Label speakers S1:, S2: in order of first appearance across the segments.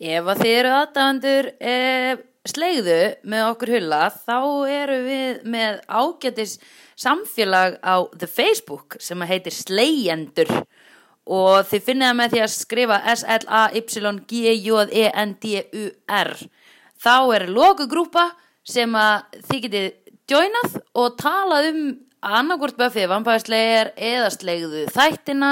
S1: Ef að þið eru aðdæfandur e, slegðu með okkur hulla þá eru við með ágætis samfélag á The Facebook sem að heitir Slegjendur og þið finnið það með því að skrifa E S-L-A-Y-G-J-E-N-D-U-R þá er lokugrúpa sem að þið getið joinað og talað um annarkvort Buffy vampæðslegir eða slegðu þættina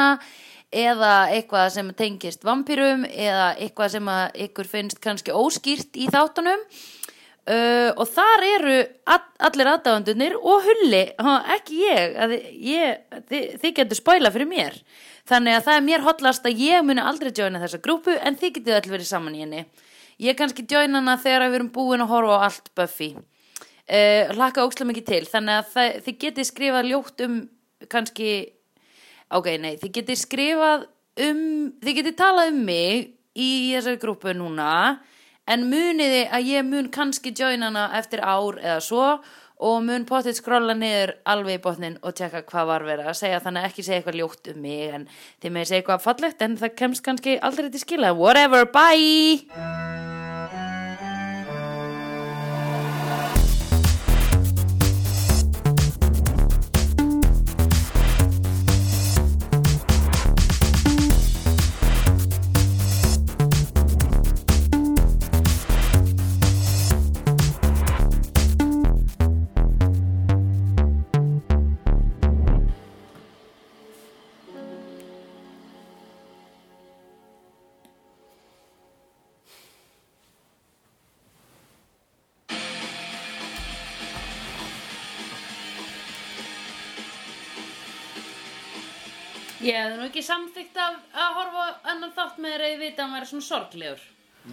S1: eða eitthvað sem tengist vampýrum eða eitthvað sem að ykkur finnst kannski óskýrt í þáttunum uh, og þar eru all, allir aðdáðandunir og hulli ha, ekki ég, að, ég þið, þið getur spæla fyrir mér þannig að það er mér hotlast að ég muni aldrei joina þessa grúpu en þið getur allir verið saman í henni ég kannski joina hana þegar við erum búin að horfa á allt Buffy uh, hlaka ókslega mikið til þannig að það, þið getið skrifað ljótt um kannski ok, nei, þið getið skrifað um, þið getið talað um mig í þessari grúpu núna en muniði að ég mun kannski join hana eftir ár eða svo og mun potið skrolla niður alveg í botnin og tjekka hvað var verið að segja þannig að ekki segja eitthvað ljótt um mig en þið með segja eitthvað fallegt en það kemst kannski aldrei til skila whatever, bye! Ég hefði nú ekki samþygt að, að horfa annan þátt með þeir eða vita að maður er svona sorglegur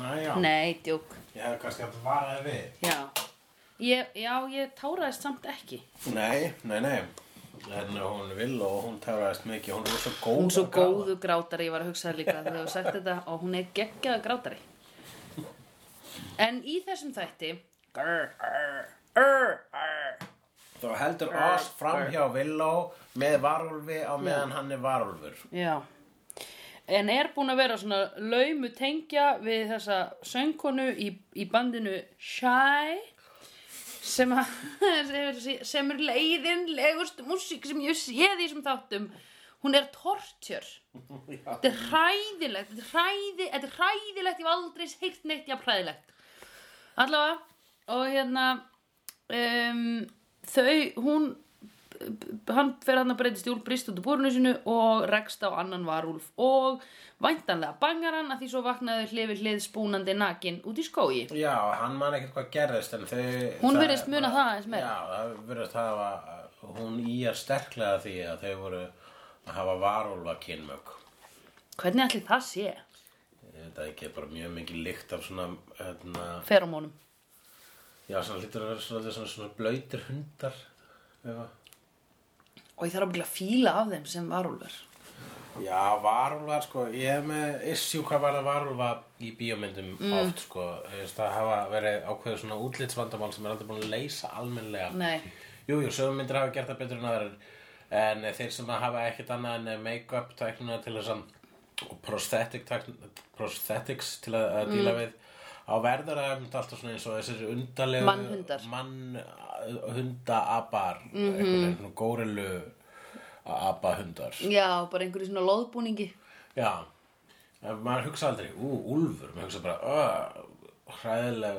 S2: Næja,
S1: Nei, djúk,
S2: ég hefði kannski haft varað við.
S1: já ég, Já, ég táraðist samt ekki
S2: Nei, nei, nei. Hérna hún vil og hún terraðist mikið, hún er svo góð.
S1: Hún er svo
S2: að grafa.
S1: góðu grátari, ég var að hugsa það líka þegar þú sagt þetta og hún er geggjaða grátari. En í þessum þætti, grr, grr, grr, grr,
S2: Þá heldur Oz fram hjá Villó með varulvi á meðan hann er varulfur.
S1: já, en er búin að vera svona laumu tengja við þessa söngkonu í, í bandinu Shy sem, að, sem- sem er leiðinlegust músík sem ég sé því sem þáttum. Hún er tortjör. Þetta er hræðilegt, þetta er, hræði, þetta er hræðilegt, ég hef aldrei heyrt neitt jafn hræðilegt. Allavega, og hérna, um, þau, hún, hann fer hann að breytist í úlf, brist út úr búrinu sinu og rekst á annan varúlf og væntanlega bangar hann að því svo vaknaðu hlifi hlið spúnandi nakin út í skógi.
S2: Já, hann man ekkert hvað gerðist en þau...
S1: Hún
S2: það-
S1: virðist muna það aðeins meira.
S2: Já, það virðist hafa, hún í að sterklega því að þau voru að hafa varulva kynmök.
S1: Hvernig ætli það sé?
S2: Þetta ekki er bara mjög mikið lykt af svona, hérna,
S1: Feromónum.
S2: já, svona lítur að vera svona, svona, svona blöytir hundar. Eða.
S1: Og ég þarf að byrja að fíla af þeim sem varúlfur.
S2: Já, varúlvar sko, ég hef með issue hvað var það varúlva í bíómyndum
S1: Mm.
S2: oft sko, Þú veist, það hafa verið ákveðu svona útlitsvandamál sem er aldrei búin að leysa almennlega.
S1: Nei.
S2: Jú, jú, sögum myndir hafa gert það betur en aðrar, en þeir sem hafa ekkert annað en make-up tæknuna til þess að og prosthetic tækn, prosthetics til að, að
S1: Mm.
S2: díla við á verður að um, alltaf svona eins og þessir undarlegu
S1: Mannhundar. Mhm.
S2: mannhundaabar mm -hmm. górilu abahundar
S1: Já, bara einhverju svona loðbúningi.
S2: Já, En maður hugsa aldrei, ú, úlfur, maður hugsa bara, ö, hræðileg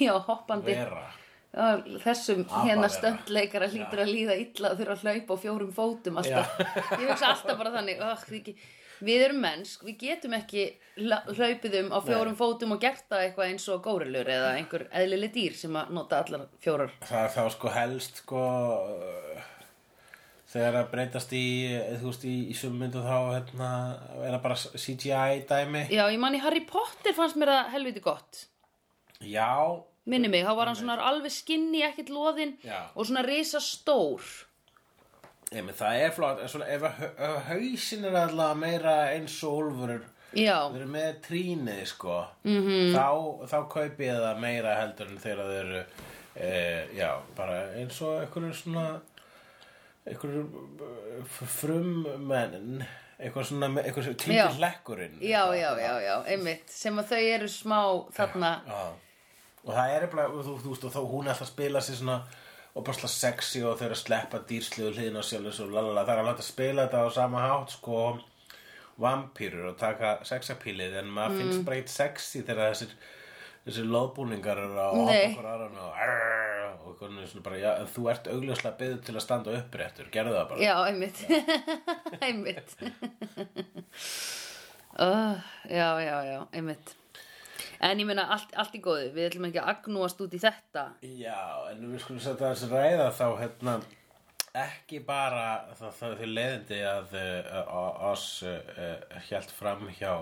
S1: Já, hoppandi.
S2: vera.
S1: Já, þessum
S2: Apa
S1: hérna
S2: vera.
S1: stöndleikara hlýtur að líða illa að þurfa að hlaupa á fjórum fótum alltaf. Ég hugsa alltaf bara þannig, oh, við, ge- við erum mennsk, við getum ekki la- hlaupið um á fjórum fótum og gert það eitthvað eins og górilur eða einhver eðlileg dýr sem að nota allar fjórar.
S2: Það er þá sko helst, sko, ö, þegar það breytast í, eh, þú veist, í, í summyndu þá, hérna, er það bara CGI dæmi.
S1: Já, ég man í Harry Potter fannst mér það helviti gott.
S2: Já,
S1: Minni mig, þá var hann svona alveg skinni, ekkert loðinn
S2: Já.
S1: og svona risa stór.
S2: emi, það er flott, en svona, ef að hau- ef hausin er allavega meira eins og úlfurur,
S1: Já, Mhm.
S2: Þeir eru með trínið sko -hmm. þá, þá kaupi ég það meira heldur en þegar þeir eru e, já, bara eins og einhverjum svona einhverjum frummenn e, eitthvað svona, með- eitthvað svona týndir
S1: Já.
S2: lekkurinn
S1: já, já, já, já, einmitt sem að þau eru smá þarna
S2: já. og það er bara, og þú, þú veist, og þá hún er alltaf að spila sér svona og bara slá sexy og þau eru að sleppa dýrsluðu hliðin á sjálfis og lalala, það er alveg hægt að spila þetta á sama hátt sko vampýrur og taka sexapílið en maður finnst bara eitt sexy þegar þessir þessir loðbúningar eru að hoppa
S1: Nei.
S2: okkur aðran og arrrr og hvernig er svona bara, já, en þú ert augljóslega byggð til að standa uppréttur, gerðu það bara
S1: já, einmitt einmitt oh, já, já, já, einmitt en ég meina allt, allt í góðu við ætlum ekki að agnúast út í þetta
S2: Já, en við skulum setja þessi ræða þá hérna ekki bara það, það þau leiðindi að uh, uh, oss uh, hjælt fram hjá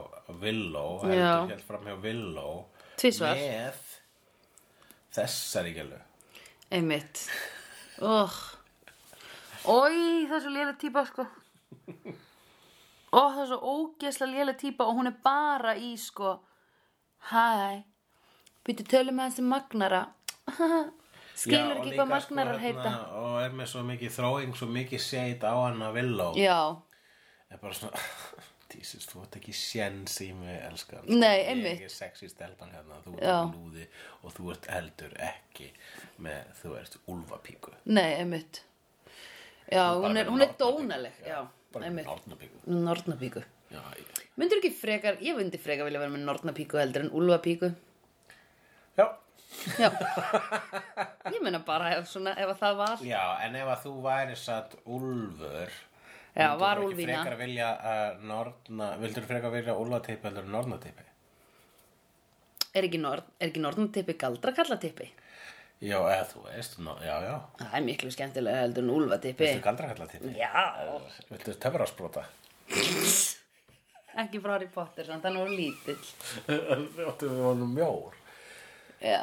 S2: Villó
S1: Já.
S2: heldur hjælt fram hjá Villó
S1: Tvisvar.
S2: með þessari gælu
S1: Einmitt oh. Ói, það er svo lélega típa sko Ó, það er svo ógeðslega lélega típa og hún er bara í sko Hæ Býttu tölum með þessi magnara Skilur ekki hvað magnarar
S2: hérna-
S1: heita
S2: sko, og er með svo mikið þróing, svo mikið seit á hana Villó
S1: Já,
S2: er bara svona Jesus, þú átt ekki séns í mig, elskan
S1: Nei,
S2: Ég
S1: einmitt.
S2: er sexy stelpan hérna, þú
S1: Já.
S2: ert lúði og þú ert eldur ekki með, þú ert úlfapíku
S1: nei, einmitt Já,
S2: Bara
S1: hún er,
S2: með
S1: hún er
S2: nornapíku,
S1: dónaleg Já,
S2: Bara með
S1: einmitt
S2: nornapíku
S1: Nornapíku
S2: Já, ég-
S1: Myndur ekki frekar, ég myndi frekar vilja vera með nornapíku heldur en úlfapíku
S2: já.
S1: Já Ég meina bara ef, svona, ef að það var
S2: já, en ef að þú væri satt úlfur
S1: Já,
S2: myndirðu
S1: var
S2: ekki
S1: úlfína.
S2: frekar vilja að norna, vildur frekar vilja úlfateipi heldur en nornateipi
S1: Er ekki, norn, er ekki nornatippi galdrakallatippi?
S2: já, eða þú veist, no, já, já
S1: Það er miklu skemmtilega heldur en úlfatippi.
S2: Viltu galdrakalla
S1: Já,
S2: Viltu töfrasprota?
S1: ekki frá Harry Potter, samt hann var lítill.
S2: Þú áttu við honum mjór
S1: Já.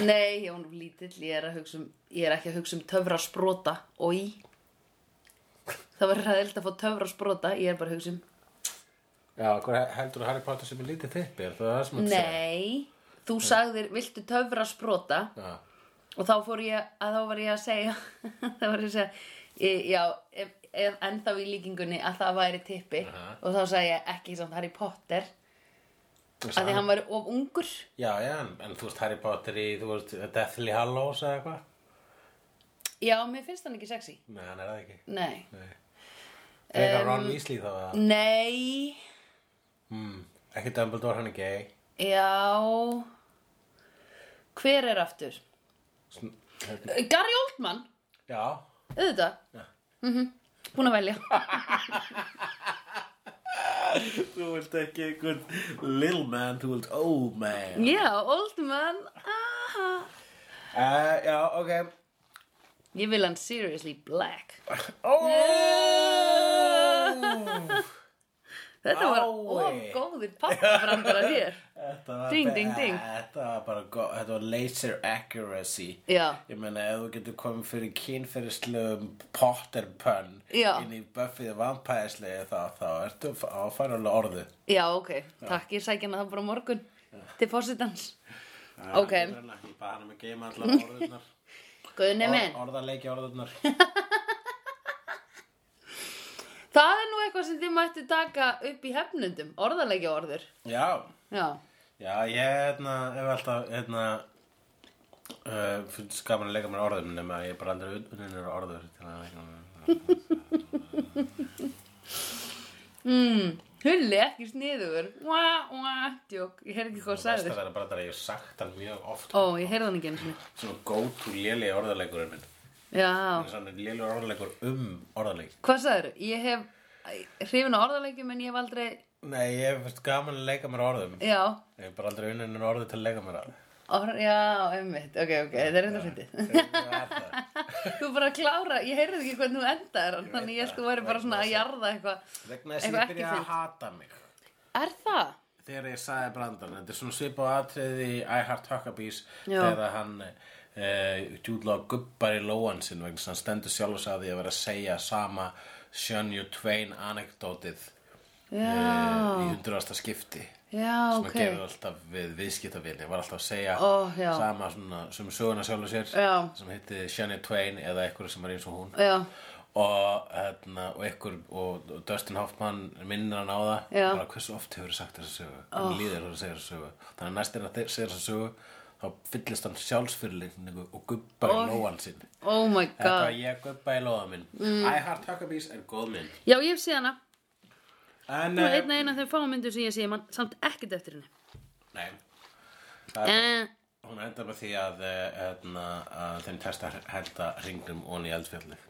S1: Nei, ég var nú lítill, ég er, að hugsa um, ég er ekki að hugsa um töfra sprota, oi. Það var ræðilt að fá töfra sprota, ég er bara að hugsa um.
S2: Já, hvað heldur þú Harry Potter sem er lítið þippi? Er það það sem þú ert að segja?
S1: Nei, þú sagðir, viltu töfra sprota?
S2: Já.
S1: Og þá fór ég, að þá var ég að segja, þá var ég að segja, ég, já, ef, ef, ennþá í líkingunni að það væri tippi
S2: Aha.
S1: og þá sagði ég ekki samt Harry Potter,
S2: Þú
S1: að því
S2: sagði-
S1: hann væri of ungur.
S2: Já, já, en, en þú veist Harry Potter í, þú veist, Deathly Hallows eða eitthvað?
S1: Já, mér finnst hann ekki sexy.
S2: Nei, hann er það ekki.
S1: Nei.
S2: Nei. Þegar Ron Weasley þá eða?
S1: Nei,
S2: Mm, ekki Dumbledore, hann er gay.
S1: já, hver er aftur?
S2: Sn hérna,
S1: Gary Oldman,
S2: já,
S1: auðvitað. Já. Mm Búin að velja.
S2: þú vilt ekki einhvern little man, þú vilt old man.
S1: já, Oldman, aha.
S2: Uh, já, ok.
S1: Ég vil hann seriously black.
S2: Oh!
S1: Þetta var of
S2: Ái.
S1: góðir pappaframdara hér.
S2: Þetta var
S1: Ding,
S2: be-
S1: ding, ding.
S2: Þetta var bara gott, þetta var laser accuracy
S1: Já.
S2: Ég meina ef þú getur komið fyrir kynferðislegum Potter pun
S1: Já.
S2: inn í Buffy the Vampire Slayer þá, þá ertu f- á færulega orðu
S1: Já, ok, takk, ég sækja hana það bara á morgun til fórsetans. Ok.
S2: Ég bara hann er með geima allar orðunar
S1: Guðni minn,
S2: Orðarleiki orðunar
S1: það er nú eitthvað sem þið mættu taka upp í hefnundum, orðalegi orður.
S2: Já,
S1: Já,
S2: já ég hérna, hef alltaf hérna Uh, finnst gaman að leika mér orðum nema ég er bara aldrei unninir orður til að leika mér
S1: Hmm. hulli ekki sniður, wah, wah, djók, ég heyrði ekki hvað
S2: og
S1: það
S2: verst að
S1: sagði.
S2: vera bara að ég hef sagt hann mjög oft
S1: Ó, ég heyrði hann ekki eins og niður.
S2: svona go-to lélega orðarleikurinn minn
S1: Já,
S2: svona lélega orðarleikur um orðarleik
S1: hvað sagður? Ég hef eh, hrifin á orðalegjum en ég hef aldrei,
S2: Nei, ég hef veist gaman að leika mér að orðum
S1: já,
S2: Ég hef bara aldrei unninn en orði til að leika mér að
S1: orð, já, einmitt, ok, ok, þetta er reynda fyndið.
S2: Þetta
S1: Þú bara að klára, ég heyrði ekki hvernig þú endaðir hann, þannig ég sko væri bara svona að jarða eitthvað.
S2: vegna þess að
S1: Eitthvað
S2: ég
S1: ekki
S2: byrja að
S1: fínt.
S2: hata mig
S1: Er það?
S2: Þegar ég sagði brandarann, þetta er svona svipað atriði í I Heart Huckabees
S1: Já.
S2: þegar hann eh, djúðla gubbar í lóan sinn vegna þess að hann stendur sjálfs að því að vera að segja sama Sjön Jú Twain anekdótið eh,
S1: Já,
S2: í hundraðasta skipti
S1: já,
S2: sem
S1: ok.
S2: að gefa alltaf við viðskiptavili var alltaf að segja
S1: Ó, já.
S2: sama svona, sem söguna sjálfur sér
S1: Já.
S2: sem hitti Shania Twain eða eitthvað sem er eins og hún
S1: Já,
S2: og, hérna, og ykkur og og Dustin Hoffman minnir hann á það
S1: Já.
S2: bara hversu oft hefur sagt þessa sögu hann líður að segja þessa sögu þannig að næst er að þeir segja þessa sögu þá fyllist hann sjálfsfyrirlitningu og gubbar í lóan sinn
S1: Oh my
S2: þetta
S1: god
S2: var ég gubba í lóan minn mm. I Heart Huckabees er góð mynd
S1: Já, ég hef séð hana
S2: en,
S1: Nú er
S2: eh,
S1: eina eina af þeim fámyndur sem ég sé mann, samt ekkert eftir henni
S2: nei,
S1: eh,
S2: hún endar með því að, eh, hérna, að þeim testa að hælda ringum onni í eldfjallið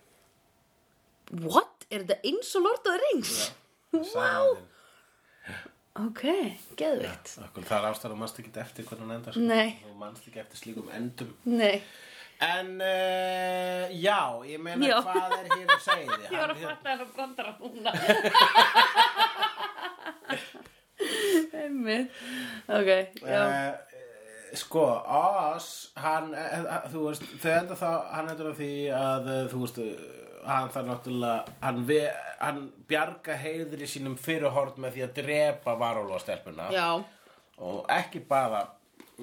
S1: What? Er þetta eins og Lord of the Rings?
S2: wow
S1: Ok, geðvikt
S2: Akkur, það er ástæðan að mannst ekki eftir hvernig hann endar
S1: Nei.
S2: og mannst ekki eftir slíkum endum
S1: Nei
S2: En uh, já, ég meina
S1: Já.
S2: hvað er hér að segja því
S1: Ég var að
S2: Hann-
S1: fatta hennar brandara núna Einmitt Ok, já
S2: Eh, Sko, Oz, hann, eh, eh, þú veist, þau enda þá, hann endur á því að, eh, þú veist, eh, hann þarf náttúrulega, hann, ve, hann bjarga heiðri sínum fyrirhort með því að drepa varúlfa stelpuna
S1: Já,
S2: og ekki bara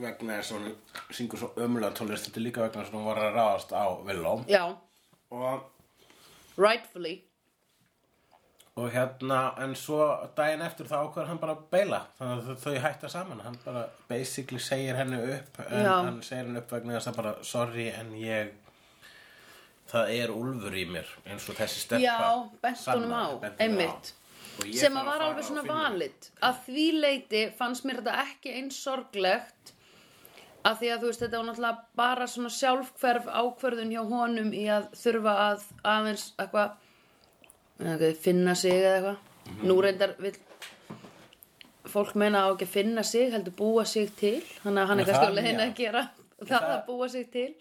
S2: vegna þess að hún syngur svo ömulega tólest, þetta er líka vegna þess að hún var að ráðast á Villó
S1: já,
S2: og
S1: rightfully
S2: og hérna, en svo daginn eftir þá ákveður hann bara að beila þannig að þau- þau hætta saman, hann bara basically segir henni upp en
S1: Já.
S2: hann segir henni upp vegna þess að bara, sorry en ég það er úlfur í mér eins og þessi steppa
S1: Já, bent honum á, einmitt sem að var alveg svona valid að því leiti fannst mér þetta ekki eins sorglegt að því að þú veist þetta var náttúrulega bara svona sjálfhverf ákverðun hjá honum í að þurfa að aðeins eitthvað eitthvað, finna sig eða eitthvað
S2: Mhm.
S1: nú reyndar vill fólk meina á ekki að finna sig heldur búa sig til þannig að hann
S2: Já,
S1: er kannski á
S2: það er
S1: leiðin
S2: nýja.
S1: að gera það
S2: það-
S1: að búa sig til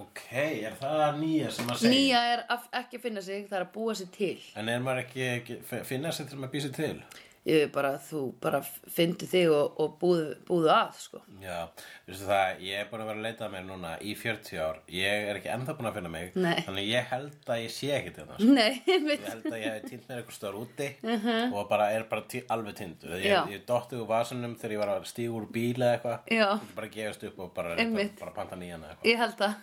S2: ok, er það nýja sem að segja
S1: nýja er að ekki finna sig það er að búa sig til
S2: en er maður ekki, ekki f- finna sér til maður býsi til
S1: ég veit bara að þú bara fyndi þig og, og búðu, búðu að sko.
S2: Já, veistu það, ég er búin að vera að leita að mér núna í 40 ár, ég er ekki ennþá búin að finna mig,
S1: Nei.
S2: þannig að ég held að ég sé ekki til það,
S1: nei, einmitt
S2: ég held að ég hef týnt mér eitthvað stór úti og bara er bara tí, alveg týnd
S1: Mhm. Já.
S2: ég, ég dotti úr vasunum þegar ég var að stíga úr bíla eða eitthvað
S1: Já.
S2: ég vildi bara gefast upp og bara,
S1: Einmitt.
S2: bara panta nýjan eða eitthvað
S1: ég held að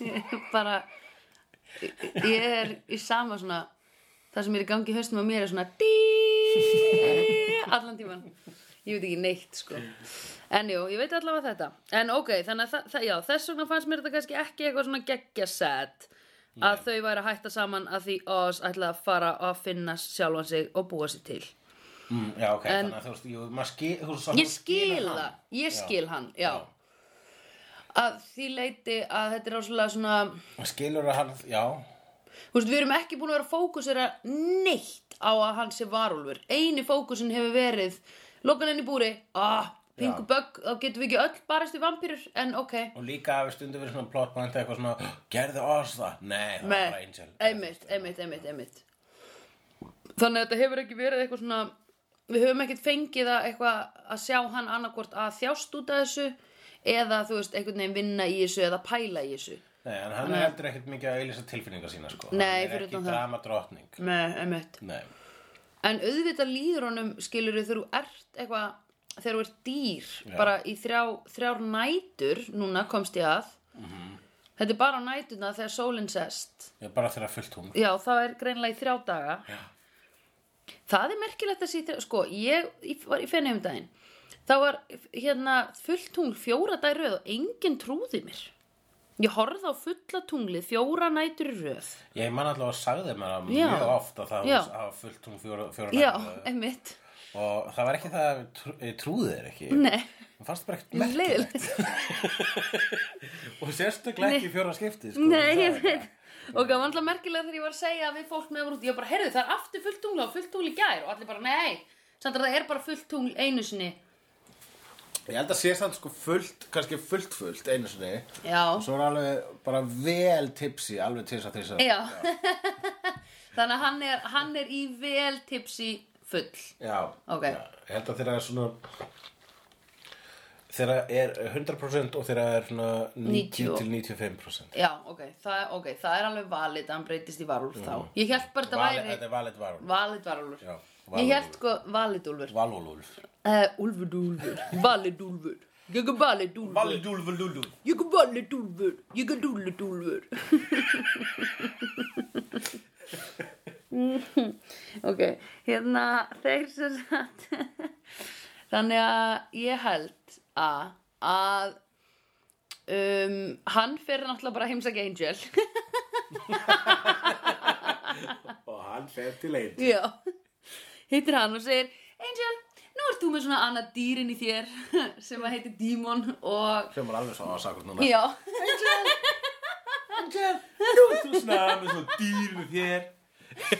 S1: ég bara ég ég er í sama svona það sem er í gangi í höstum á mér er svona dí- allan tíman ég veit ekki neitt sko en jú, ég veit allavega þetta en ok, þannig að þa þa já, þess vegna fannst mér þetta kannski ekki eitthvað svona geggja set að þau væri að hætta saman að því Oz ætlaði að fara að finna sjálfan sig og búa sig til
S2: mm, Já, ok, þannig að þú veist, jú, maður skil þú veist, svo-
S1: Ég skil
S2: skilur hann.
S1: það, ég skil hann, já. Að því leiti að þetta er áslega svona,
S2: Maður skilur að hann, já
S1: þú veist, við erum ekki búin að vera að fókusera neitt á að hann sé varúlfur. Einu fókusin hefur verið, lokan henni í búri, ah, pingu bögg, þá getum við ekki öll barast í vampýrur, en ok.
S2: og líka hafi stundu verið svona plottbænt eitthvað svona, gerðu oss það nei, það var
S1: Nei,
S2: bara Angel
S1: einmitt, einmitt, einmitt, einmitt. Þannig að þetta hefur ekki verið eitthvað svona, við höfum ekkert fengið að eitthvað að sjá hann annarkvort að þjást út af þessu eða þú veist, einhvern veginn vinna í þessu eða pæla í þessu.
S2: Nei, en hann er heldur ekkert mikið að auðlýsa tilfinningar sína sko.
S1: Nei,
S2: hann er
S1: fyrir
S2: ekki
S1: utan það.
S2: dramadrottning
S1: Nei, einmitt.
S2: Nei,
S1: En auðvitað líður honum, skilur þegar þú ert eitthvað, þegar þú ert dýr, bara í þrjá, þrjár nætur, núna komst ég að.
S2: Mhm.
S1: Þetta er bara á nætuna þegar sólinn sest.
S2: ég er bara þegar fullt hún
S1: Já, það er greinlega í þrjá daga. Já. Það er merkilegt að sýta, sko, ég, ég var í fenni um daginn. Það var hérna fullt tungl fjóra dag í röð og enginn trúði mér. Ég horfði á fulla tunglið fjóra nætur í röð.
S2: Ég man alltaf að sagði mér það
S1: Já.
S2: mjög oft að það
S1: Já.
S2: var- það var fullt hún fjóra, fjóra
S1: Já,
S2: nætur.
S1: einmitt.
S2: og það var ekki það að ég trú, ég trúði þér ekki
S1: Nei,
S2: það fannst bara ekkert merkilegt
S1: leiðilegt.
S2: og sérstaklega ekki í fjóra skipti sko,
S1: Nei, ég
S2: það er-
S1: veit Og það var alltaf merkilega þegar ég var að segja við fólk með voru út, ég var bara, heyrðu, það er aftur fullt tungl og fullt tungl í gær og allir bara, nei, Sandra, það er bara fullt tungl einu sinni.
S2: Ég held að sé samt sko fullt, kannski fullt fullt einu sinni
S1: Já.
S2: og svo er alveg bara vel tipsi alveg til þess að þess að
S1: Já. Þannig að hann er, hann er í vel tipsi full.
S2: Já,
S1: Ok.
S2: já, ég held að þeirra er svona þeirra er 100% og þeirra er svona 90
S1: 90.
S2: til 95%
S1: Já, ok, það, okay, það er alveg valid, að hann breytist í varúlf þá. Ég held bara þetta
S2: Vali-
S1: væri
S2: Mhm. Þetta er valid varul
S1: valid varúlfur.
S2: Já,
S1: Ég
S2: valid
S1: held sko valid úlfur.
S2: Valúlúlf
S1: Uh, úlfur, úlfur, valid úlfur. Ég er balledúlfur,
S2: Valdúlfulúlú
S1: ég er balledúlfur, ég er dúlledúlfur. ok, hérna þeir sem sagt. Þannig að ég held að, að um, hann fer náttúrulega bara að heimsækja Angel.
S2: Og hann fer til einn
S1: Já, hittir hann og segir Angel, nú ert þú með svona annað dýrin í þér sem að heitir Dímon og
S2: Sem er alveg svo ásakur núna
S1: já,
S2: Angel, nú ert þú svona með svona dýrinu þér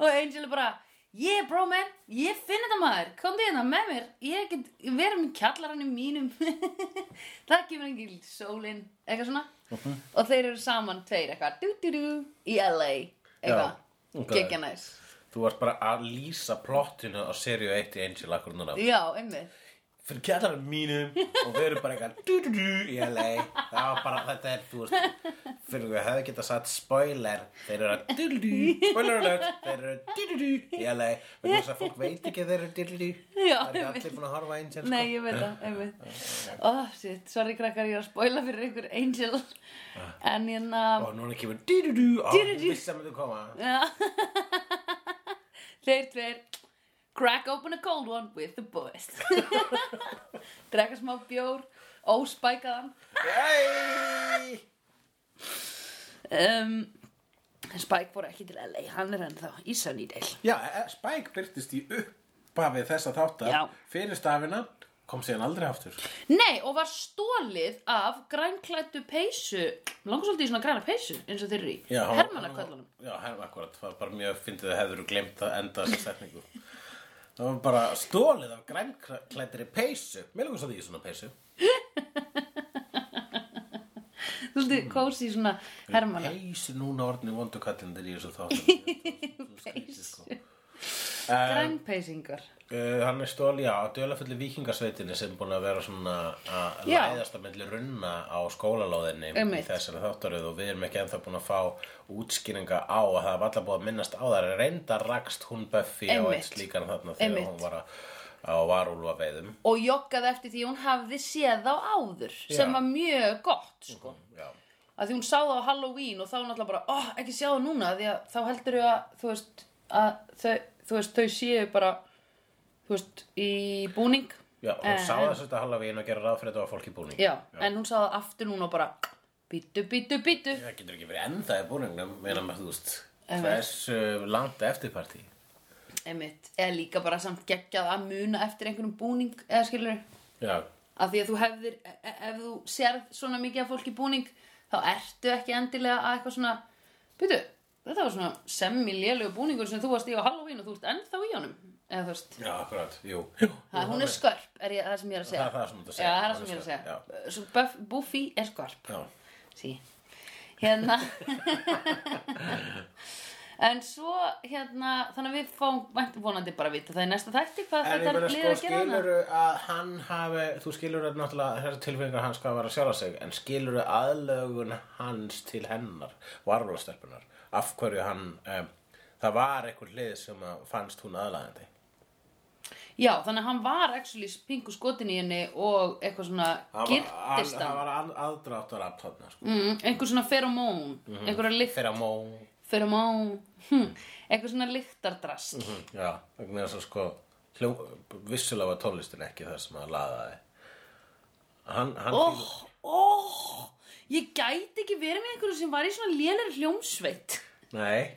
S1: og Angel er bara Yeah bro man, ég finn þetta maður, komdu hérna með mér, ég get verið með kjallaranum mínum, það kemur engin sólin, eitthvað svona og þeir eru saman tveir eitthvað, dú dú dú, í LA, eitthvað,
S2: Já, ok.
S1: geggja næs,
S2: Þú varst bara að lýsa plottinu á seríu 1 í Angel akkur núna
S1: já, einmitt,
S2: Fyrir kjallarinn mínum og við erum bara eitthvað du-du-du í LA Það var bara þetta er, þú veist Fyrir við hefði getað satt spoiler Þeir eru að du-du-du, spoiler alert Þeir eru du-du-du í LA Vegna þess að fólk veit ekki að þeir eru du-du-du
S1: Já,
S2: Það er ekki
S1: einmitt.
S2: allir búin að horfa á Angel sko.
S1: Nei, ég veit það, einmitt Oh, shit, sorry krakkar, ég er að spoila fyrir ykkur Angel
S2: Ah.
S1: En hérna
S2: Og núna kemur du-du-du Og
S1: Du-du-du.
S2: við sem þú koma
S1: Þeir tveir Crack open a cold one with the boys Drekka smá bjór Óspækaðan
S2: Hey!
S1: um, Spike fór ekki til LA Hann er ennþá í Sunnydale
S2: Já, eh, Spike byrtist í upphafið þessa þáttar
S1: Já.
S2: Fyrir stafina kom síðan aldrei aftur
S1: Nei, og var stólið af grænklættu peysu Langar svolítið í svona græna peysu Eins og þeir eru í
S2: Já, hann-
S1: Hermannaköllunum
S2: Já, hann akkurat, það var bara mjög fyndið að hefur glemt að enda þessa setningu Það var bara stólið af grænklættri peysu Mér lukum svo því í svona peysu
S1: Svolítið kósi svona hermanna
S2: Peysu núna orðin í vondukatlindir í þessu þáttum Peysu
S1: Grænpeysingar
S2: Uh, hann er stóli, já, á dölafulli vikingasveitinni sem er búin að vera svona að
S1: Já.
S2: læðast að milli runna á skólalóðinni í
S1: Einmitt.
S2: þessari þáttaröð og við erum ekki ennþá búin að fá útskýringa á að það var alltaf búin að minnast á það reyndar rakst hún Buffy á
S1: Einmitt.
S2: eitt slíkan þarna þegar
S1: Einmitt.
S2: hún var að, á varúlfa veiðum
S1: og joggaði eftir því hún hafði séð þá áður
S2: Já.
S1: sem var mjög gott sko.
S2: já.
S1: að því hún sá það á Halloween og þá náttúrulega bara, oh, ekki sjá það núna því að þá heldur þau að þú veist, að þau, þú veist, þau séu bara þú veist, í búning
S2: já, hún
S1: En-
S2: sá þess að Halloween og gera ráð fyrir þetta var fólk í búning
S1: Eh. já, en hún sá það aftur núna og bara bítu, bítu, bítu
S2: það getur ekki verið ennþá í búningnum meina með þú veist
S1: Einmitt.
S2: hversu langt eftirparti
S1: Einmitt. eða líka bara samt geggjað að muna eftir einhvernum búning eða skilur
S2: já,
S1: af því að þú hefðir e- e- ef þú sérð svona mikið af fólki búning þá ertu ekki endilega að eitthvað svona byrju, þetta var svona semmilélegu búningur sem þú varst í á Halloween og þú ert ennþá í honum eða þú veist,
S2: já, akkurat, jú, jú.
S1: ha, hún er skörp er ég, það sem ég er að segja
S2: Það er það sem þú ert að
S1: já,
S2: segja.
S1: það er það
S2: Hún
S1: sem ég
S2: er
S1: er að segja Svo Buff, Buffy er skörp
S2: já.
S1: sí. hérna en svo hérna þannig að við fáum vænt- vonandi bara að vita það í næsta þætti hvað
S2: En ég
S1: þetta
S2: meina
S1: er
S2: sko,
S1: liða að gera hana
S2: skiluru að hann hafi, þú skiluru náttúrulega þessar tilfengar hans hvað var að sjálfa sig, en skiluru aðlögun hans til hennar, varvölastelpunar, af hverju hann, um, það var einhver hlið sem að fannst hún aðlagandi.
S1: Já, þannig að hann var actually pingu skotin í henni og eitthvað svona
S2: Það var-
S1: girtist
S2: Það
S1: hann.
S2: var að- aðdráttur af þarna, sko.
S1: Mm, einhver svona feromón, mm
S2: Mhm.
S1: -hmm. einhverja lykt,
S2: Fyrir að mó,
S1: feromón, hm, einhver svona lyktardrast.
S2: hm, já, vegna þess að sko, hljó, vissulega var tónlistin ekki það sem að laðaði. Hann, hann,
S1: Óh, óh, ég gæti ekki verið með einhverju sem var í svona lélir hljómsveit.
S2: nei,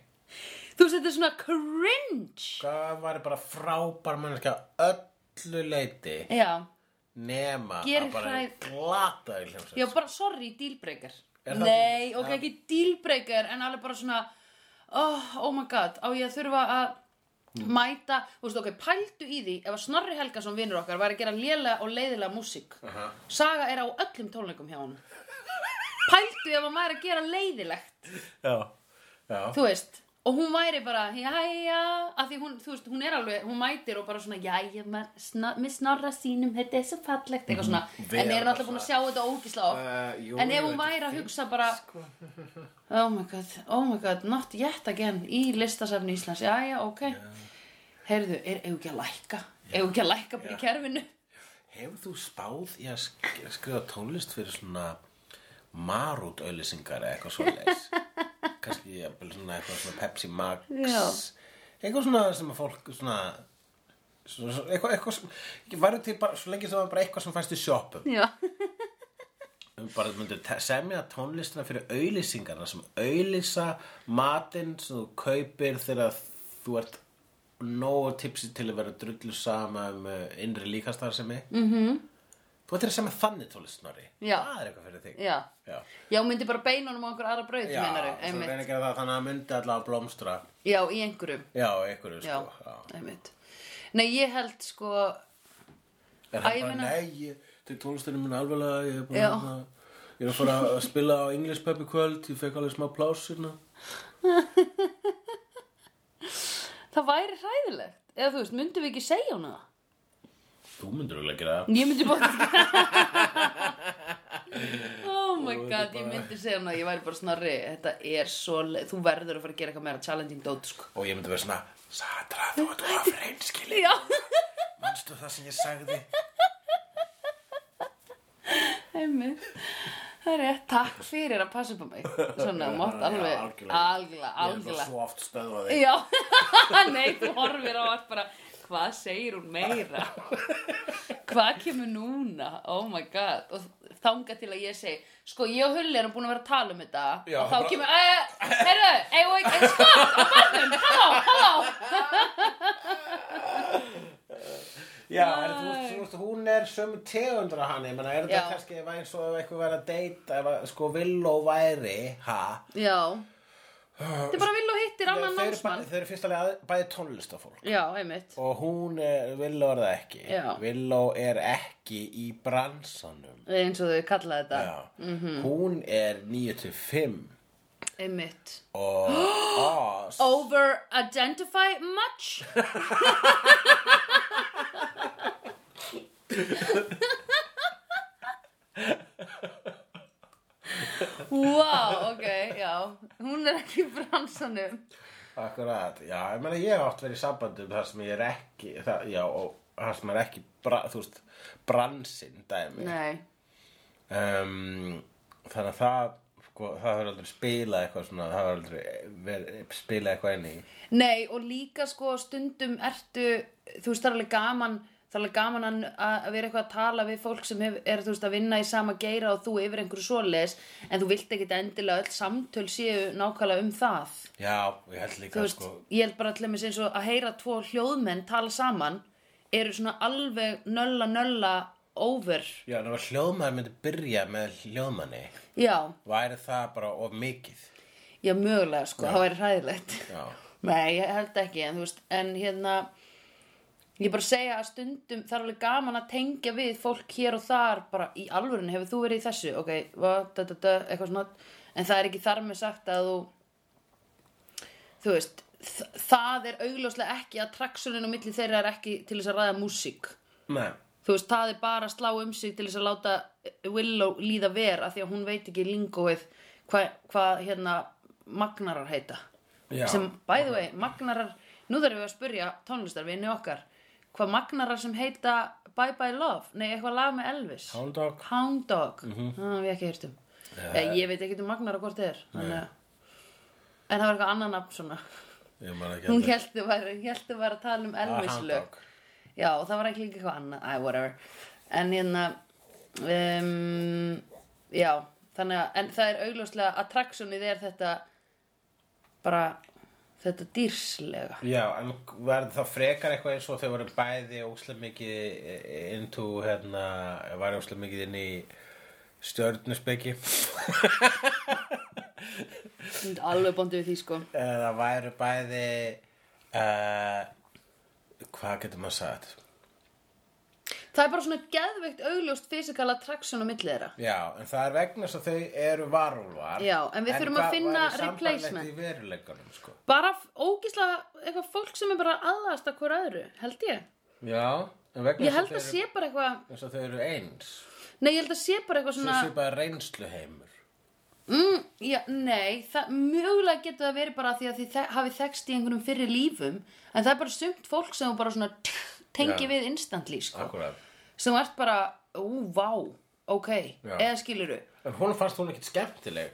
S1: Þú veist, þetta er svona cringe.
S2: hvað var bara frábær mannskja öllu leiti.
S1: Já,
S2: nema
S1: Gerir
S2: að bara
S1: hræð-
S2: glata í hljómsveit
S1: já, bara sorry, dealbreaker.
S2: Er það-
S1: Nei, ok,
S2: Já.
S1: ekki dealbreaker, en alveg bara svona, oh, oh my god, á ég að þurfa að
S2: Hmm.
S1: mæta, þú veist, ok, pældu í því ef að Snorri Helgason vinnur okkar var að gera lélega og leiðilega músík.
S2: Aha.
S1: Saga er á öllum tónleikum hjá hann. Pældu ef að maður er að gera leiðilegt,
S2: já, já,
S1: þú veist, og hún væri bara, jæja, að því hún, þú veist, hún er alveg, hún mætir og bara svona, jæja, maður, sna, með Snorra sínum, þetta er svo fallegt, eitthvað svona,
S2: Vera
S1: en er
S2: bara
S1: náttúrulega búin að
S2: svona-
S1: sjá þetta ógislega oft.
S2: Uh, jú,
S1: En
S2: jú,
S1: ef hún
S2: þetta
S1: væri
S2: er sko.
S1: að hugsa bara Oh my god, oh my god, not yet again Í listasafni Íslands, já já, ok Heyrðu, er, eigum ekki að lækka Eigum ekki að lækka bara í kerfinu
S2: Hefur þú spáð í að sk- skrifa tónlist fyrir svona marút auðlýsingar eða eitthvað svo leis? Kannski jafnvel svona eitthvað svona Pepsi Max
S1: Já.
S2: Eitthvað svona sem að fólk svona, svona, svona eitthvað, eitthvað sem ég væri til bara, svo lengi sem það var bara eitthvað sem fæst í sjoppum
S1: Já,
S2: Við bara myndir te- semja tónlistina fyrir auðlýsingarna sem auðlýsa matinn sem þú kaupir þegar þú ert nógu tipsi til að vera drullu sama um uh, innri líkastar sem ég mm -hmm. Þú ættir að semja þannig tónlist, Snorri
S1: Mhm. Já.
S2: Það er eitthvað fyrir þig
S1: já.
S2: Já,
S1: Já, myndi bara beina honum á einhver aðra braut,
S2: Já
S1: meinaru,
S2: svo reyna
S1: einmitt.
S2: að gera það þannig að myndi allavega blómstra
S1: Já, í einhverjum,
S2: Já, einhverju
S1: já,
S2: sko Já.
S1: einmitt. Nei, ég held sko,
S2: Er hann
S1: Æ, ég
S2: bara,
S1: meina-
S2: nei, ég, til tónlistinu minn alveglega, ég er bara,
S1: Já.
S2: hérna, ég er að fara að spila á English Pub í kvöld, ég fekk alveg smá pláss hérna.
S1: það væri hræðilegt. Eða þú veist, myndum við ekki segja hún það?
S2: Þú myndir alveg gera það.
S1: Ég myndi bara Oh my god, ég
S2: bara-
S1: myndi segja hana Ég væri bara snarri, þetta er svo le- Þú verður að fara að gera eitthvað meira challenging dót sko.
S2: Og ég myndi vera svona, Sandra, þú ert að fyrir einskili,
S1: Já,
S2: manstu það sem ég sagði?
S1: heimi Það er rétt, takk fyrir að passa upp á mig Svona, þú mátt
S2: Já,
S1: alveg
S2: algjörlega.
S1: Algjörlega,
S2: Ég er bara
S1: algjörlega
S2: svo oft stöðvað þig.
S1: Já, nei, þú horfir á allt bara Hvað segir hún meira? Hvað kemur núna? Oh my god Og þanga til að ég segi Sko, ég og Hulli erum búin að vera að tala um þetta
S2: Já,
S1: Og þá
S2: bara-
S1: kemur uh, Herru, eigum við ekki skott á mannum Halló, halló
S2: Já, er, þú, þú, veist, hún er sömu tegundra hann, ég menna, er þetta
S1: Já.
S2: kannski, ef eins og ef eitthvað væri að deyta, ef að, sko, vill og væri, ha?
S1: Já Þetta er bara vill og hittir annan
S2: Þau eru
S1: námsmann
S2: bæ- þau eru fyrst alveg að- bæði tónlistafólk.
S1: Já, einmitt
S2: Og hún er, Villó er það ekki.
S1: Já.
S2: Villó er ekki í bransanum.
S1: Eins og þau kalla þetta
S2: Já. Hún er 9-5
S1: Einmitt
S2: og Oz.
S1: Over identify much Wow, ok, já Hún er ekki í bransanum
S2: Akkurat, já, ég meina ég hef oft verið í sambandum þar sem ég er ekki, það, já, og þar sem er ekki, bra, þú veist, bransinn dæmi.
S1: Nei,
S2: Um, þannig að það, sko, það hefur aldrei spilað eitthvað svona, það hefur aldrei verið, spilað eitthvað inn í.
S1: Nei og líka sko stundum ertu, þú veist það er alveg gaman það er alveg gaman að, að vera eitthvað að tala við fólk sem hef, er þú veist að vinna í sama geira og þú yfir einhverju svoleiðis en þú vilt ekkit endilega öll samtöl séu nákvæmlega um það
S2: Já, og ég held
S1: þú
S2: líka,
S1: veist,
S2: sko,
S1: ég held bara allir með eins og að heyra tvo hljóðmenn tala saman eru svona alveg nölla nölla over
S2: já, en ef hljóðmaður myndi byrja með hljóðmanni,
S1: já,
S2: væri það bara of mikið.
S1: já mögulega sko, það væri hræðilegt
S2: Já,
S1: Nei, ég held ekki, en þú veist, en hérna, ég bara segja að stundum það er alveg gaman að tengja við fólk hér og þar, bara í alvörun, hefur þú verið í þessu, ok, va, da, da, da, eitthvað svona, en það er ekki þar með sagt að þú, þú veist, þ- það er augljóslega ekki að traksunin á milli þeirra er ekki til þess að ræða músík.
S2: nei,
S1: Þú veist, það er bara að slá um sig til þess að láta Willow líða ver af því að hún veit ekki lingóið hvað, hvað hérna, magnarar heita
S2: já,
S1: sem, by the way, magnarar nú þurfum við að spurja tónlistarvinni okkar hvað magnarar sem heita Bye Bye Love, nei, eitthvað lag með Elvis
S2: Hound Mhm. Dog,
S1: Hound Dog mm það hef ég ekki heyrt um yeah. ég veit ekki um magnarar hvort þið er þannig að En það var eitthvað annað nafn svona.
S2: ég man ekki
S1: Hún
S2: eftir-
S1: heldur væri, heldur væri að tala um
S2: Ah,
S1: Elvis
S2: Hound
S1: lög.
S2: Dog.
S1: Já, og það var ekki líka eitthvað annað, æ, whatever. En hérna, um, já, þannig að, en það er augljóslega, attractionið er þetta, bara, þetta dýrslega.
S2: Já, en verður það frekar eitthvað eins og þau voru bæði óslega mikið eh, into, hérna, var óslega mikið inn í stjörnuspeki
S1: Alveg bóndið við því, sko.
S2: eða væru bæði, uh, hvað getur maður sagt?
S1: Það er bara svona geðveikt augljóst physical attraction á milli þeirra.
S2: Já, en það er vegna þess að þau eru varúlvar.
S1: Já, en við þurfum að finna
S2: En hvað
S1: replacement.
S2: væri sambærilegt í veruleikanum, sko?
S1: Bara ógíslega, eitthvað fólk sem er bara aðlast að hver öðru, held ég.
S2: Já, en vegna
S1: Ég held að
S2: þess
S1: sé bara eitthvað,
S2: þau eru- þess að þau eru eins.
S1: nei, ég held að sé bara eitthvað
S2: Þau
S1: svona...
S2: séu bara reynslu heimur.
S1: Mm, já, nei, það, mjögulega getur það verið bara af því að þið þe hafið þekst í einhverjum fyrri lífum en það er bara sumt fólk sem þú bara svona tch, tengi
S2: Já.
S1: við instantly sko.
S2: Akkurat.
S1: sem þú ert bara, ú, vá, ok,
S2: Já.
S1: eða skiluru.
S2: En hún fannst hún ekkit skemmtileg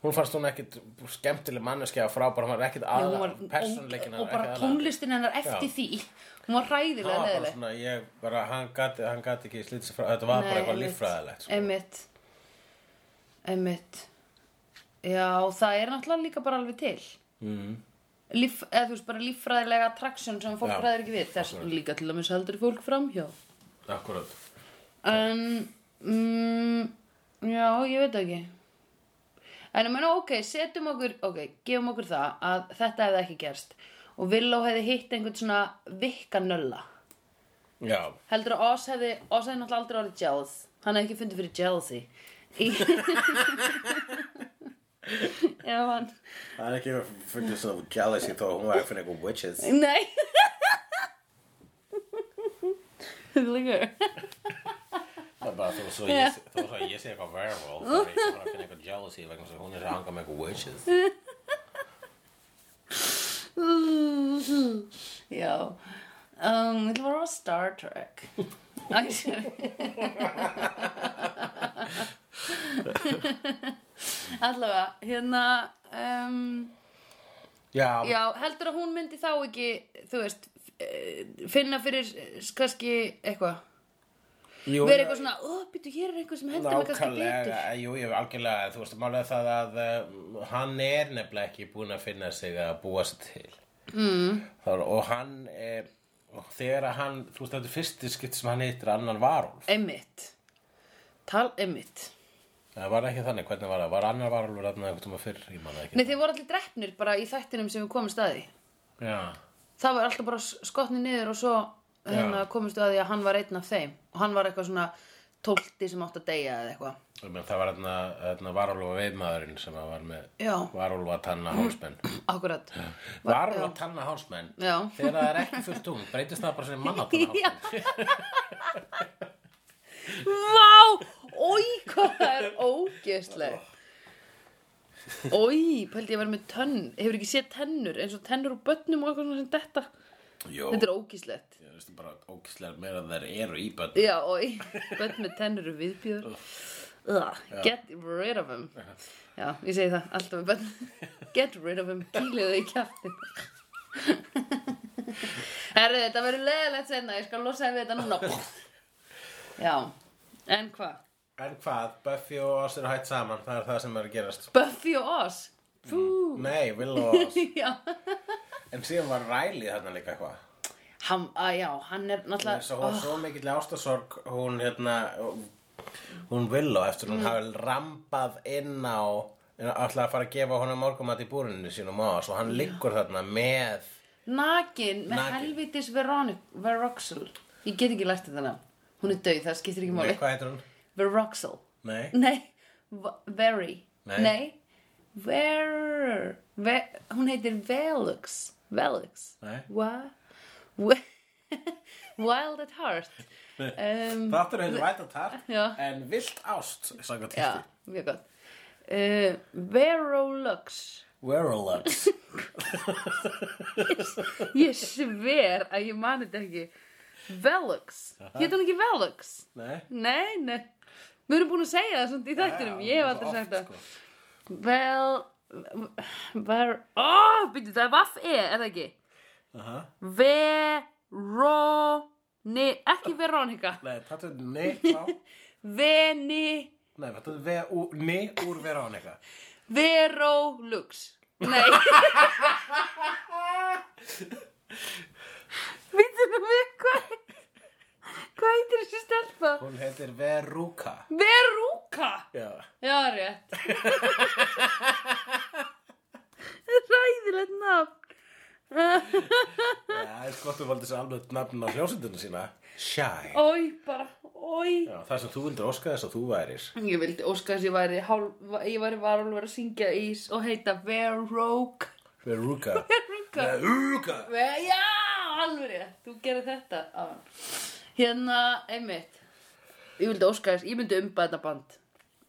S2: Hún fannst hún ekkit skemmtileg manneskja og frábær, hún var ekkit
S1: Hún
S2: aðla
S1: var,
S2: persónleikin
S1: og, og bara tónlistin hennar eftir
S2: Já.
S1: því, hún var hræðilega
S2: Það var bara
S1: neðileg.
S2: svona, ég bara, hann gati, hann gati ekki slítið sér frá, þetta var bara eitthvað líffræðilegt sko.
S1: Emmitt, emmitt, já, það er náttúrulega líka bara alveg til.
S2: mm.
S1: Líf, eða þú veist bara líffræðilega attraction sem fólk
S2: Já.
S1: ræður ekki við þess
S2: Akkurat.
S1: líka til að mér heldur fólk fram hjá
S2: Akkurat
S1: en mm, já, ég veit það ekki en ég meina ok, setjum okkur ok, gefum okkur það að þetta hefði ekki gerst og Villó hefði hitt einhvern svona vikkanölla
S2: Já,
S1: heldur að Oz hefði Oz hefði náttúrulega aldrei orðið jealous hann hefði ekki fundið fyrir jealousy í ef hann
S2: það er ekki að finna svo jealousy þó hún var að finna eitthvað witches
S1: Nei Líkur
S2: Það er bara þó svo ég, þó svo að ég sé eitthvað werewolf þá er ég bara að finna eitthvað jealousy vegna þess að hún er að hanga með eitthvað witches
S1: Já um, Þetta var á Star Trek Æ, sorry. Allavega Hérna um,
S2: Já,
S1: Já, heldur að hún myndi þá ekki Þú veist eh, finna fyrir eh, kannski eitthvað
S2: jú,
S1: verið eitthvað svona, ó, býtu, hér er eitthvað sem hendur mig kannski betur
S2: nákvæmlega, eh, jú, ég er algjörlega þú veist, málega það að um, hann er nefnilega ekki búin að finna sig að búa sig til mm. Þar, og hann er, og þegar að hann þú veist, þetta er fyrsti skipt sem hann hittir annan varulf
S1: Einmitt Tal einmitt
S2: það var ekki þannig, hvernig var það, var annar varulfur þarna einhvern tíma fyrr, ég manna ekki
S1: Nei þeir voru allir drefnir bara í þættinum sem við komumst að því
S2: Já,
S1: Það var alltaf bara skotni niður og svo hérna, komumst við að því að hann var einn af þeim og hann var eitthvað svona tólti sem átt að deyja eða eitthvað
S2: ég meina, það var þarna, þarna varulfa veifmaðurinn sem að var með
S1: Já, Mhm.
S2: varulfa tanna hálsmenn
S1: akkurat
S2: varulfa tanna hálsmenn
S1: Já,
S2: þegar það er ekki fullt tungl, breytist það bara sem mannatanna
S1: Já.
S2: hálsmenn
S1: Vá, oi, hvað það er ógeðsleg Oi, pældi ég var með tönn Hefur ekki séð tennur, eins og tennur og bönnum og eitthvað svona sem þetta
S2: Jó,
S1: Þetta er ógeðslegt
S2: Ég veist bara ókislega meira að þær eru í bönn
S1: Já, oi, börn með tennur og viðbjör Ugh, Get rid of him Já, ég segi það alltaf með börn Get rid of him, kýliðu í kjaftin Herru, þetta verður leðilegt senna Ég skal losa þig við þetta núna Já, en hvað?
S2: En hvað, Buffy og Oz eru hætt saman, það er það sem er að gerast
S1: Buffy og Oz Fú,
S2: Nei, Will og Oz
S1: já
S2: En síðan var Riley þarna líka eitthvað
S1: Hann, að já, hann er
S2: Þess að hún
S1: náttúrulega Ah,
S2: er svo mikill ástasorg hún hérna hún Will og eftir
S1: Mm.
S2: hún hafi rampað inn á alltaf að fara að gefa honum morgumat í búrinu sínum á Oz og hann liggur þarna með
S1: Nakin með
S2: Nakinn.
S1: helvitis Veronica, Veroxel Ég get ekki lært þetta nafn Hún er döið, það skiptir ekki
S2: Nei,
S1: máli
S2: hvað heitir hún?
S1: Veroxel
S2: Nei,
S1: Nei, v- very
S2: Nei.
S1: Nei. Ver, ver Hún heitir Velux Velux
S2: Nei.
S1: Wa, wa, Wild at heart um,
S2: þáttur heitir Væta Tart
S1: Já.
S2: en Vilt Ást, sagði
S1: Já,
S2: tísti
S1: mjög gott uh, Verolux
S2: Werelux
S1: Ég sver að ég mani þetta ekki Velux Hétt hún ekki Velux?
S2: Nei
S1: Nei, nei Við erum búin að segja það svona í þættinum Ég hef aldrei sagt það
S2: sko.
S1: Vel Ver Ó, býttu, það er vaff e, er það ekki?
S2: Aha.
S1: Veroni Ekki Veronika
S2: Nei, þetta er neitt á
S1: Veni
S2: Nei, þetta er ve- ú- ni úr Veronica
S1: Verolux Nei Býttu, við hvað Hvað heitir þessi stelpa?
S2: Hún heitir Veruca
S1: Verúka
S2: Já
S1: Já, rétt Ræðilegt nafn
S2: Það er gott að valdi sér alveg nafn á hljósundinu sína Shy
S1: Ói, bara, ói
S2: Já, það sem þú vildir óska þess að þú værir
S1: Ég vildi óska þess að ég væri hálf, ég væri varulver að syngja í og heita Verók
S2: Veruca
S1: Veróka
S2: Veruca
S1: Já, alveg rétt, þú gerir þetta áðan. Hérna, einmitt Ég vildi óska þess, ég myndi umba þetta band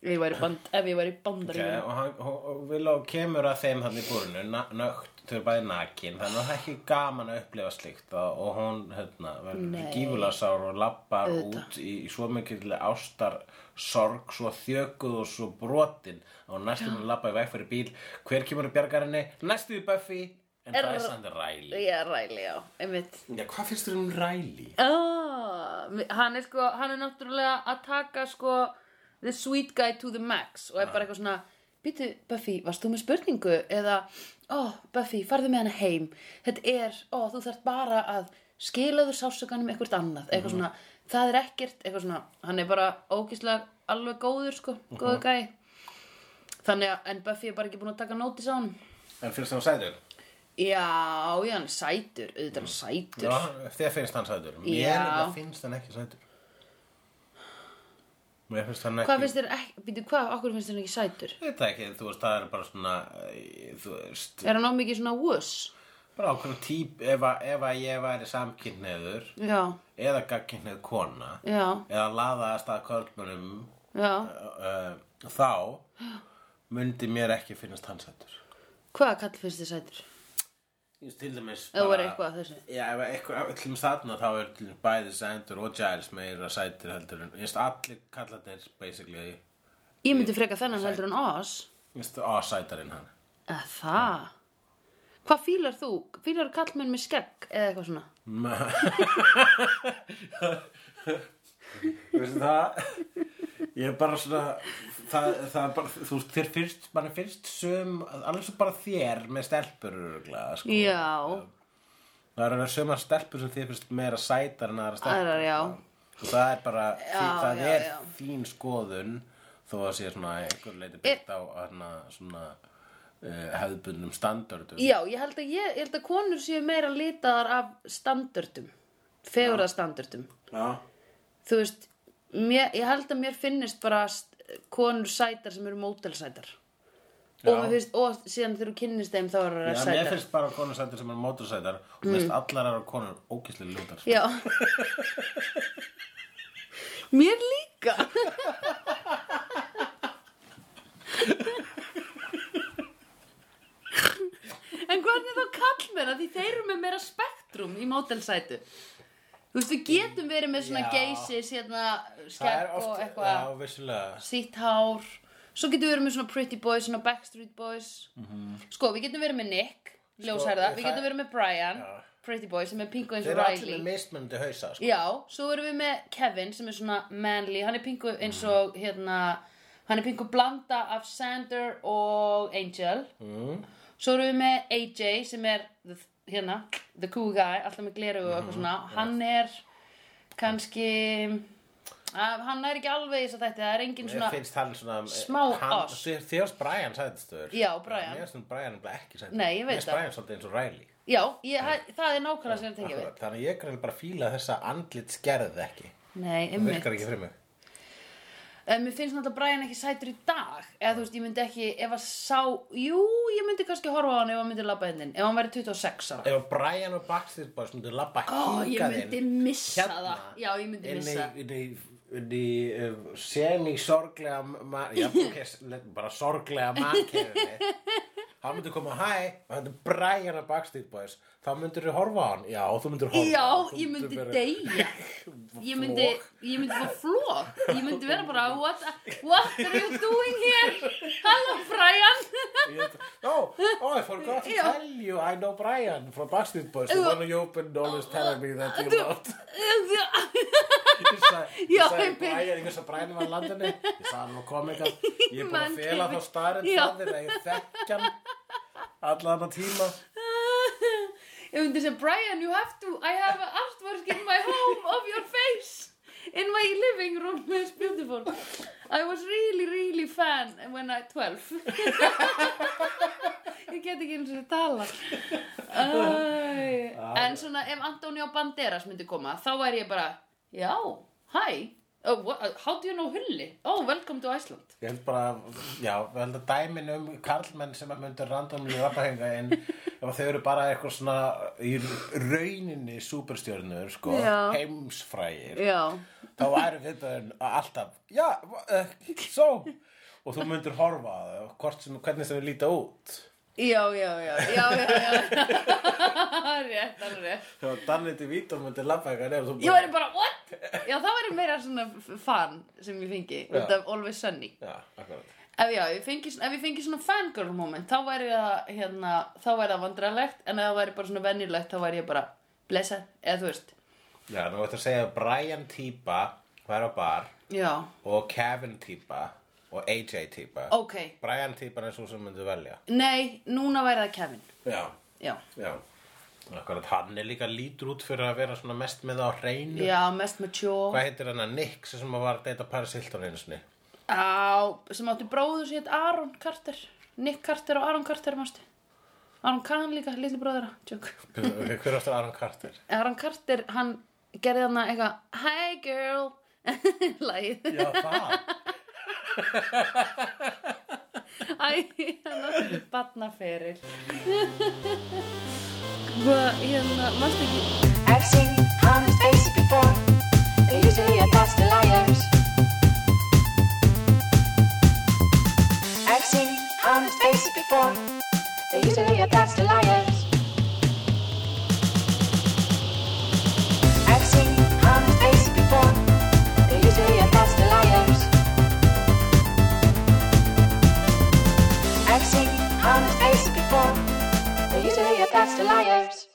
S1: Ef ég væri, band, ef ég væri
S2: Ok,
S1: bandaríkjum
S2: og hann, og, og Willow kemur að þeim þannig í búrinu, na- nögt, þau eru bæði nakin, þannig að það er ekki gaman að upplifa slíkt og, og hún, hérna, verður
S1: Nei.
S2: gífulasár og lappar
S1: Auðvitað.
S2: út í, í svo mikil ástar sorg, svo þjökuð og svo brotin og næstum hún lappa í veg fyrir bíl, hver kemur að bjargar henni, næstum við Buffy, en
S1: Er-
S2: það er samt Riley.
S1: Já, ræli, já, einmitt
S2: Já, hvað finnst þér um Riley?
S1: Ah, hann er sko, hann er náttúrulega að taka sko the sweet guy to the max og er bara eitthvað svona býtu Buffy, varst þú með spurningu? Eða, ó oh, Buffy, farðu með hana heim þetta er, ó þú þarft bara að skilaðu sásuganum eitthvað annað eitthvað svona, það er ekkert eitthvað svona, hann er bara ógislega alveg góður sko, góður mm þannig að, en Buffy er bara ekki búin að taka nótis á hann
S2: En finnst þér hann sætur?
S1: já, já, hann er sætur auðvitað er hann sætur
S2: Já, þér finnst hann sætur. Mér
S1: Já.
S2: nefnilega finnst hann ekki sætur. Mér finnst hann ekki...
S1: hvað finnst þér ekki, býtu hvað, okkur finnst þér hann ekki sætur?
S2: Ég veit það ekki, þú veist, það er bara svona, eh, þú veist,
S1: Er hann á mikið svona wuss?
S2: bara ákveðum típ, ef að, ef að ég væri samkynniður,
S1: Já,
S2: eða gagkynnið kona,
S1: já,
S2: eða laðaðast að kvöldmönum,
S1: já.
S2: uh, þá myndi mér ekki finnast hans hættur.
S1: Hvaða kall finnst þið sætur?
S2: Ég veist, til dæmis
S1: Ef þú er eitthvað að þessu.
S2: Já, ef eitthvað, öllum þarna þá er til dæmis bæði Sandur og Giles meira sætur heldur en, ég veist, allir kallarnir, basically,
S1: Ég myndi freka þennan heldur en Oz.
S2: ég veist, á sætarinn hann.
S1: Eða það? Hvað fílar þú? Fílar kallmenn með skegg eða eitthvað svona?
S2: Þú veist það Ég er bara svona það, það er bara, þú veist, þér fyrst mann er fyrst sum, alveg svo bara þér með stelpur örgulega, sko.
S1: Já,
S2: Það eru sumar stelpur sem þér finnst meira sætar en aðra stelpur
S1: aðrar já.
S2: og það er bara, því,
S1: Já,
S2: það
S1: já,
S2: er
S1: já.
S2: þín skoðun þó að sé svona einhver leiti byggt á hana, svona uh, hefðbundnum standardum
S1: Já, ég held að, ég, ég held að konur séu meira litaðar af standardum. Fegurða standardum.
S2: Já.
S1: Þú veist, mér, ég held að mér finnist bara st- konur sætar sem eru mótelsætar. Og, mér finnst, og síðan þegar þú kynnist þeim þá er það
S2: Já, mér
S1: sætar. Mm.
S2: finnst bara konur sætar sem er mótorsætar og mér finnst allar aðra konur ógeðslega ljótar.
S1: Já Mér líka En hvernig þá kallmenn að því þeir eru með meira spektrum í mótelsætu Þú veist, við getum verið með svona
S2: Já.
S1: geysis, hérna, skegg og eitthvað
S2: já, vissulega.
S1: sítt hár Svo getum við verið með svona Pretty Boys, svona Backstreet Boys
S2: Mhm.
S1: Sko, við getum verið með Nick, ljósherða Við
S2: það-
S1: getum verið með Brian,
S2: Sko, Já.
S1: Pretty Boys, sem er pingu eins
S2: Þeir
S1: og
S2: eru allir
S1: Riley
S2: með mismunandi hausa, sko.
S1: Já, svo erum við með Kevin sem er svona manly, hann er pingu eins og hérna, hann er pingu blanda af Sander og Angel
S2: Mm.
S1: Svo erum við með AJ sem er the, hérna, the cool guy, alltaf með gleru og
S2: Mhm,
S1: eitthvað svona Hann er kannski, að, hann er ekki alveg þess að þetta, það er engin
S2: Mér
S1: svona
S2: finnst hann svona...
S1: smá
S2: hann-
S1: oss.
S2: þér- Þér finnst Brian sætastöður.
S1: Já, Brian.
S2: Mér finnst Brian nefnilega ekki sætastöður.
S1: Nei, ég veit
S2: Mér
S1: það.
S2: finnst Brian svolítið eins og Riley.
S1: Já, ég, það er nákvæmlega sem ég tekja við
S2: Akkurat, Þannig að ég kannan bara fíla þessa andlit skerð ekki.
S1: Nei,
S2: Það
S1: einmitt
S2: virkar ekki fyrir mig.
S1: En Eh, mér finnst náttúrulega Brian ekki sætur í dag eða þú veist, ég myndi ekki, ef að sá jú, ég myndi kannski horfa á hann ef hann myndi labba hennin, ef hann væri 26 ára
S2: Ef að Brian og Backstreet Boys myndu labba
S1: Ó, ég
S2: hingað
S1: myndi
S2: inn,
S1: missa
S2: hérna,
S1: það Já, ég myndi
S2: inn í,
S1: missa
S2: inn í, inn í uh, semi-sorglega ma- já, ok, s- le- bara sorglega mannkefinni hann myndi koma hæ og hann myndi bræja hann að Backstreet Boys þá myndir þú horfa á hann já, þú myndir horfa
S1: Já,
S2: á hann. Þú
S1: ég
S2: myndir
S1: myndi
S2: vera-
S1: deyja Ég myndi,
S2: Flog.
S1: ég myndi fá flók Ég myndi vera bara, what, what are you doing here? Hello Brian
S2: Ég- Oh, oh, I forgot to
S1: Já.
S2: tell you I know Brian from Backstreet Boys The
S1: Já.
S2: one you opened always telling me that you loved Ég
S1: Já,
S2: sa- Ég sagði
S1: ég byrja-
S2: Brian, ég vissi að Brian var landinni Ég sagði hann var komika Ég er búin
S1: Man
S2: að fela þá
S1: kemur-
S2: starinn
S1: Já.
S2: þarðir að ég þekk hann Alla hann tíma
S1: Ég myndi segja, Brian, you have to, I have an artwork in my home of your face in my living room, it's beautiful. I was really, really fan when I 12. ég get ekki eins og þetta tala. Æ, en svona, ef Antonio Banderas myndi koma, þá væri ég bara, já, hi, oh, what, how do you know Hulli? Oh, welcome to Iceland.
S2: Ég held bara, já, ég held að dæmin um karlmenn sem að myndu randomli rappahenga en ef þau eru bara eitthvað svona í rauninni superstjörnur, sko,
S1: Já.
S2: heimsfrægir
S1: Já.
S2: þá væri viðböðin alltaf, já, uh, so eh, og þú myndir horfa á þau, hvort sem, hvernig sem þau líta út
S1: Já, já, já, já, já, já. rétt, alveg rétt.
S2: þegar Danny DeVito myndir labba eitthvað nefn
S1: Ég væri bara, what? Já, það væri meira svona f- fan sem ég fengi,
S2: Já.
S1: út af Always Sunny.
S2: já, akkurat
S1: Ef já, ég fengi, svona- ef ég fengi svona fangirl moment, þá væri það, hérna, þá væri það vandralegt, en ef það væri bara svona venjulegt, þá væri ég bara, blessa, eða þú veist,
S2: já, nú ættu að segja að Brian Típa væri á bar
S1: já,
S2: og Kevin Típa og AJ Típa
S1: ok.
S2: Brian Típa er svo sem myndir velja
S1: Nei, núna væri það Kevin,
S2: já,
S1: já.
S2: já akkurat, hann er líka lítur út fyrir að vera svona mest með það á hreinu
S1: Já, mest mature.
S2: hvað heitir hann að Nick sem var að deyta Paris Hilton einu sinni
S1: Á, sem átti bróður sem hétt Aaron Carter. Nick Carter og Aaron Carter, mástu. Aaron Kahn líka, litli bróðara, tjók.
S2: Ok, hver áttur Aron Carter
S1: Aaron Carter, hann gerði hann eitthvað, hi girl, lagið.
S2: já, það
S1: Æ, hérna, hann átti batnaferil. Hvað, hérna, mástu ekki,
S3: I've seen honest faces before. They're usually a pass to liars. I've seen honest faces before. They're usually a pass to liars. I've seen honest faces before. They're usually a pass to liars. I've seen honest faces before. They're usually a pass to liars.